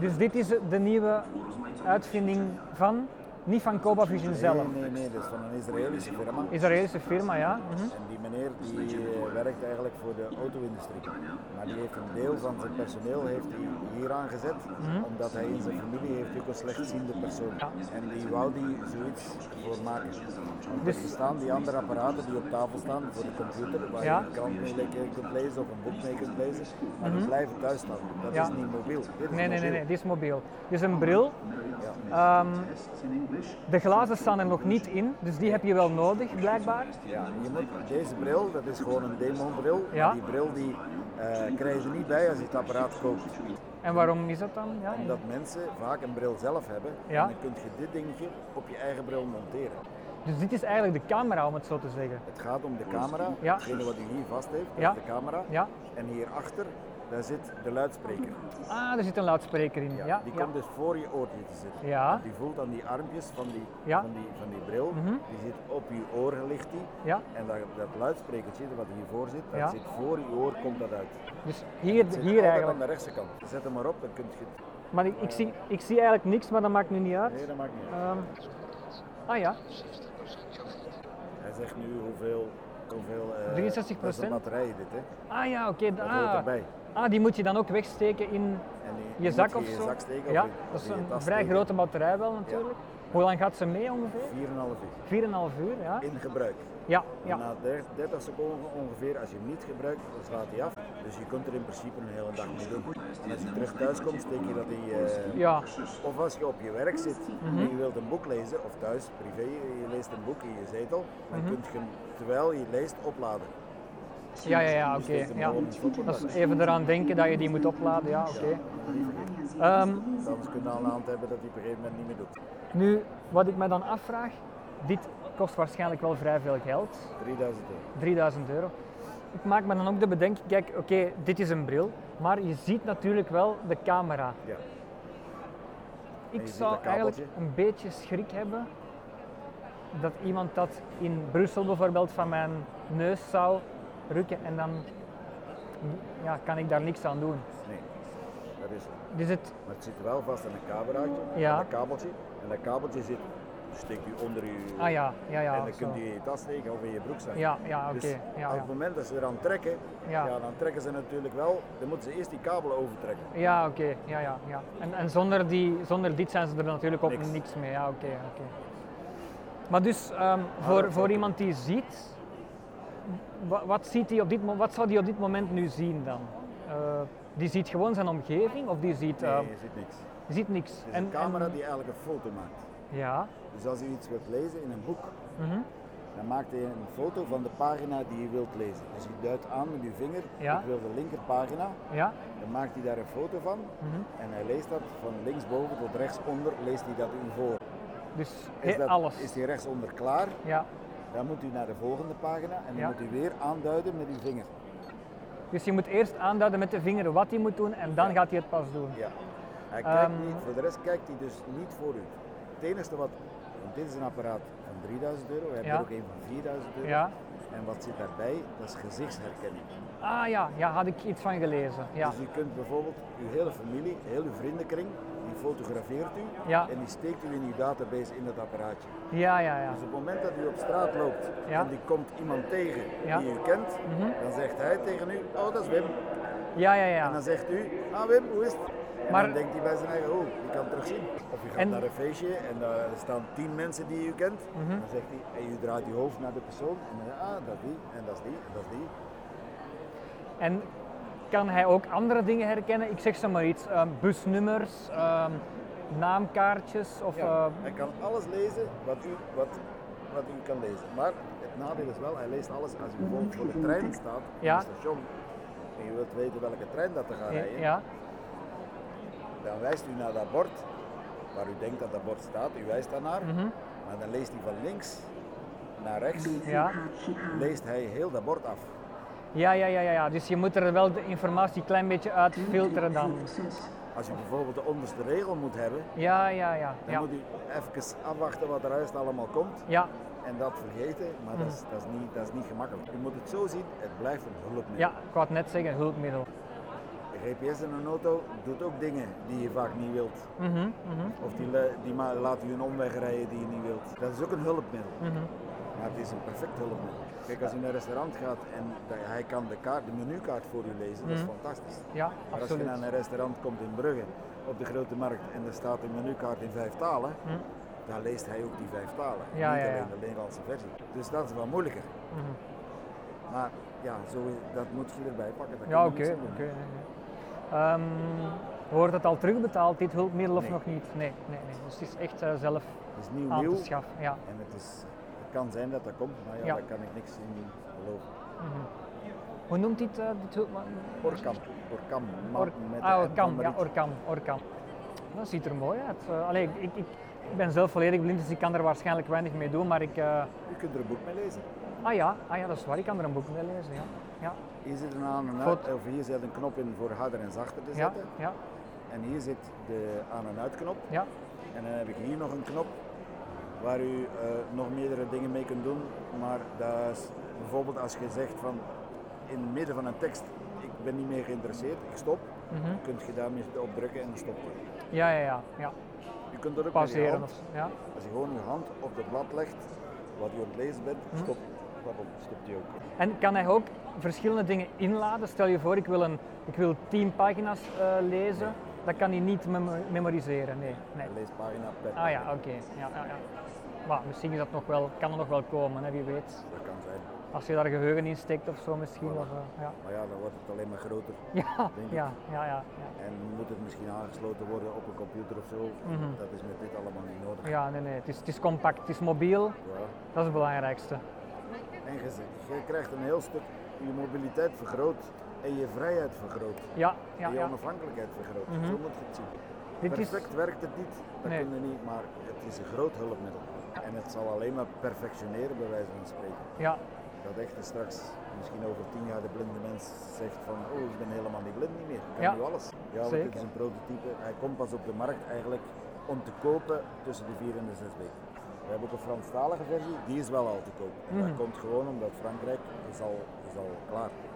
Dus dit is de nieuwe uitvinding van, niet van Koba Vision zelf. Nee, nee, nee, dat is van een Israëlische firma. Israëlische firma, ja. Mhm. En die meneer die eh, werkt eigenlijk voor de auto-industrie. Maar die heeft een deel van zijn personeel heeft hij hier aangezet, omdat hij in zijn familie heeft ook een slechtziende persoon. Mhm. Ja. En die wou die zoiets voor maken. Dus- Dus er staan die andere apparaten die op tafel staan voor de computer, waar Ja. je een krant mee lekker kunt lezen of een boek mee kunt lezen, maar die blijven thuis staan. Dat Mhm. Ja. is niet mobiel. Dit is Nee, nee, nee, mobiel. nee, dit is mobiel. Dit is een bril. Ehm, de glazen staan er nog niet in, dus die heb je wel nodig, blijkbaar. Ja, je moet, deze bril, dat is gewoon een demonbril. Ja. maar Die bril die, eh, krijg je niet bij als je het apparaat koopt. En waarom is dat dan? Ja, Omdat mensen vaak een bril zelf hebben. Ja. En dan kun je dit dingetje op je eigen bril monteren. Dus dit is eigenlijk de camera, om het zo te zeggen. Het gaat om de camera. Ja. Hetgene wat hij hier vast heeft, dat Ja. is de camera. Ja. En hierachter, daar zit de luidspreker. Ah, er zit een luidspreker in. Ja, ja, die komt dus voor je oortje te zitten. Ja. Die voelt aan die armpjes van die, Ja. Mhm. van die, van die bril. Die zit op je oor, ligt die. Ja. En dat, dat luidsprekertje wat hiervoor zit, dat Ja. zit voor je oor, komt dat uit. Dus hier, Zit hier altijd aan de eigenlijk. rechtse kant. Zet hem maar op, dan kun je het. Maar ik, ik, zie, ik zie eigenlijk niks, maar dat maakt nu niet uit. Nee, dat maakt niet uit. Ehm, ah ja, Hij zegt nu hoeveel. hoeveel eh, 63%? Dat is een batterij, dit hè? ah ja, oké. Dat ah. hoort erbij. Ah, die moet je dan ook wegsteken in En die- die je moet zak je of in je zo? zak steken of ja, in- of dat is in je een vrij tas steken. grote batterij wel natuurlijk. Hoe lang gaat ze mee ongeveer? 4,5 uur 4,5 uur, ja. in gebruik. Ja, En ja. Na der- 30 seconden ongeveer, als je hem niet gebruikt, dan slaat hij af. Dus je kunt er in principe een hele dag mee doen. En als je terug thuis komt, steek je dat in je. Ja, Of als je op je werk zit en je wilt een boek lezen, of thuis, privé, je leest een boek in je zetel, dan Mhm. kun je hem terwijl je leest opladen. ja, ja, ja oké. Dus steekt hem Ja. gewoon in het stoppen. Dat is even eraan denken dat je die moet opladen, ja, oké. Ehm, Anders kun je al een hand hebben dat hij op een gegeven moment niet meer doet. nu, wat ik me dan afvraag, dit kost waarschijnlijk wel vrij veel geld. 3000 euro. 3000 euro. Ik maak me dan ook de bedenking, kijk, oké, dit is een bril, maar je ziet natuurlijk wel de camera. Ja. Ik je ziet zou dat kabeltje. eigenlijk een beetje schrik hebben dat iemand dat in Brussel bijvoorbeeld van mijn neus zou rukken en dan ja, kan ik daar niks aan doen. Nee, dat is het. Dus het, Maar het zit wel vast aan een kabelraadje, Ja. aan een kabeltje. En dat kabeltje zit, steekt u onder uw... ah ja, ja, ja. en dan zo. kunt u in je tas steken of in je broek zijn. Ja, ja, oké. Dus ja, ja. op het moment dat ze eraan trekken, Ja. ja. dan trekken ze natuurlijk wel, dan moeten ze eerst die kabel overtrekken. Ja, oké. Ja, ja, ja. En, en zonder, die, zonder dit zijn ze er natuurlijk ook niks, Niks. mee. Ja, oké. oké. Maar dus ehm, Ah, dat voor, zou voor kunnen. iemand die ziet, wa- wat, ziet die op dit, mo- wat zou die op dit moment nu zien dan? Eh, die ziet gewoon zijn omgeving of die ziet, ehm, Nee, je ziet niks. Het die ziet niks? is een camera die eigenlijk een foto maakt. Ja, Dus als u iets wilt lezen in een boek, mhm, dan maakt hij een foto van de pagina die je wilt lezen. Dus je duidt aan met uw vinger, Ja. ik wil de linkerpagina, ja, dan maakt hij daar een foto van mhm. en hij leest dat van linksboven tot rechtsonder, leest hij dat u voor. dus Is, he- dat, alles. is die rechtsonder klaar, Ja. dan moet u naar de volgende pagina en dan Ja. moet u weer aanduiden met uw vinger. Dus je moet eerst aanduiden met de vinger wat hij moet doen en dan gaat hij het pas doen. Ja. Hij kijkt Ehm. niet, voor de rest kijkt hij dus niet voor u. Het enige wat, want dit is een apparaat van 3000 euro, we hebben Ja. er ook een van 4000 euro. Ja. En wat zit daarbij, dat is gezichtsherkenning. Ah ja, ja, had ik iets van gelezen. Ja. Dus u kunt bijvoorbeeld uw hele familie, heel uw vriendenkring, die fotografeert u Ja. en die steekt u in uw database in dat apparaatje. Ja, ja, ja. Dus op het moment dat u op straat loopt Ja. en die komt iemand tegen Ja. die u kent, Mhm. dan zegt hij tegen u, oh dat is Wim. Ja, ja, ja. En dan zegt u, ah Wim, hoe is het? En Maar- dan denkt hij bij zijn eigen, oh, ik kan terugzien. Of je gaat En- Mhm. naar een feestje en daar staan tien mensen die u kent. Dan zegt hij, en u draait je hoofd naar de persoon. En dan, ah, dat is die, en dat is die, en dat is die. En kan hij ook andere dingen herkennen? Ik zeg zo maar iets, ehm, busnummers, ehm, naamkaartjes of... Ja, ehm, hij kan alles lezen wat u, wat, wat u kan lezen. Maar het nadeel is wel, hij leest alles als u bijvoorbeeld voor de trein staat, Ja. in het station, en je wilt weten welke trein dat er gaat rijden, ja, dan wijst u naar dat bord waar u denkt dat dat bord staat, u wijst daarnaar, mhm, maar dan leest hij van links naar rechts, ja. leest hij heel dat bord af. Ja, ja, ja, ja, ja. Dus je moet er wel de informatie een klein beetje uit filteren dan. Als u bijvoorbeeld de onderste regel moet hebben, Ja, ja, ja. dan Ja, moet u even afwachten wat eruit allemaal komt. ja, En dat vergeten, maar Mhm. dat, is, dat, is niet, dat is niet gemakkelijk. U moet het zo zien, het blijft een hulpmiddel. ja. ik wou het net zeggen, hulpmiddel. Je GPS in een auto doet ook dingen die je vaak niet wilt. Mhm, mhm, Of die, la- die ma- laat je een omweg rijden die je niet wilt. Dat is ook een hulpmiddel. mhm. Maar het is een perfect hulpmiddel. Kijk, als je naar een restaurant gaat en de- hij kan de, kaart, de menukaart voor je lezen, dat is Mhm. fantastisch. Ja, Maar als je absoluut. naar een restaurant komt in Brugge, op de grote markt, en er staat een menukaart in vijf talen, Mhm, dan leest hij ook die vijf talen. Ja, Niet ja, ja. alleen de Nederlandse versie. Dus dat is wat moeilijker. mhm. Maar ja, zo, is- dat moet je erbij pakken. daar Ja, kun oké. je oké. niks aan doen. nee, nee. Ehm, wordt het al terugbetaald, dit hulpmiddel, of Nee. nog niet? Nee, nee, nee. Dus het is echt eh, zelf Het is nieuw, aan nieuw. te schaffen. Ja. En het, is, het kan zijn dat dat komt, maar ja, Ja. daar kan ik niks in beloven. Mhm. Hoe noemt dit, eh dit hulpmiddel? Orkam. Orkam. ma- Or- met de ah, N Orkan, van ja, Mariet. Orkan, Orkan. Dat ziet er mooi uit. Eh, allee, ik, ik, ik ben zelf volledig blind, dus ik kan er waarschijnlijk weinig mee doen, maar ik... eh, U kunt er een boek mee lezen. ah, ja, ah ja, dat is waar, ik kan er een boek mee lezen, ja. Ja, Hier zit een aan en Goed. uit, of hier zit een knop in voor harder en zachter te ja, zetten. ja, En hier zit de aan- en uitknop. ja. En dan heb ik hier nog een knop waar u eh, nog meerdere dingen mee kunt doen. Maar dat is bijvoorbeeld als je zegt van in het midden van een tekst, ik ben niet meer geïnteresseerd, ik stop. Mhm. Kun je daarmee op drukken en dan stopt je. Ja, ja, ja, ja. Je kunt dat ook met je Pauzeren hand. of zo, ja. Als je gewoon je hand op het blad legt, wat je aan het lezen bent, Hm? stop. Waarom stopt die ook? En kan hij ook verschillende dingen inladen? Stel je voor, ik wil, een, ik wil tien pagina's eh, lezen. Dat kan hij niet memo- memoriseren, nee. nee. Hij leest pagina per Ah ja, oké. Ja, ja, ja. Maar misschien is dat nog wel, kan er nog wel komen, hè, wie weet. Dat kan zijn. Als je daar geheugen in steekt of zo misschien. Of, eh, ja. Maar ja, dan wordt het alleen maar groter. Ja, Denk ik. ja, ja, ja, ja. En moet het misschien aangesloten worden op een computer of zo. Mhm. Dat is met dit allemaal niet nodig. Ja, nee, nee. Het is, het is compact, het is mobiel. Ja. Dat is het belangrijkste. En je, je krijgt een heel stuk, je mobiliteit vergroot en je vrijheid vergroot. Ja, En ja, je ja. onafhankelijkheid vergroot. Mhm. Zo moet je het zien. Dit is, Perfect werkt het niet, dat Nee. kunnen we niet, maar het is een groot hulpmiddel. En het zal alleen maar perfectioneren, bij wijze van spreken. ja, Dat echt straks, misschien over tien jaar, de blinde mens zegt van, oh, ik ben helemaal niet blind niet meer. Ik kan Ja. nu alles. Ja, want Zeker. dit is een prototype. Hij komt pas op de markt eigenlijk om te kopen tussen de vier en de zes weken. We hebben ook een Franstalige versie, die is wel al te koop. En Mhm. dat komt gewoon omdat Frankrijk is al, is al klaar.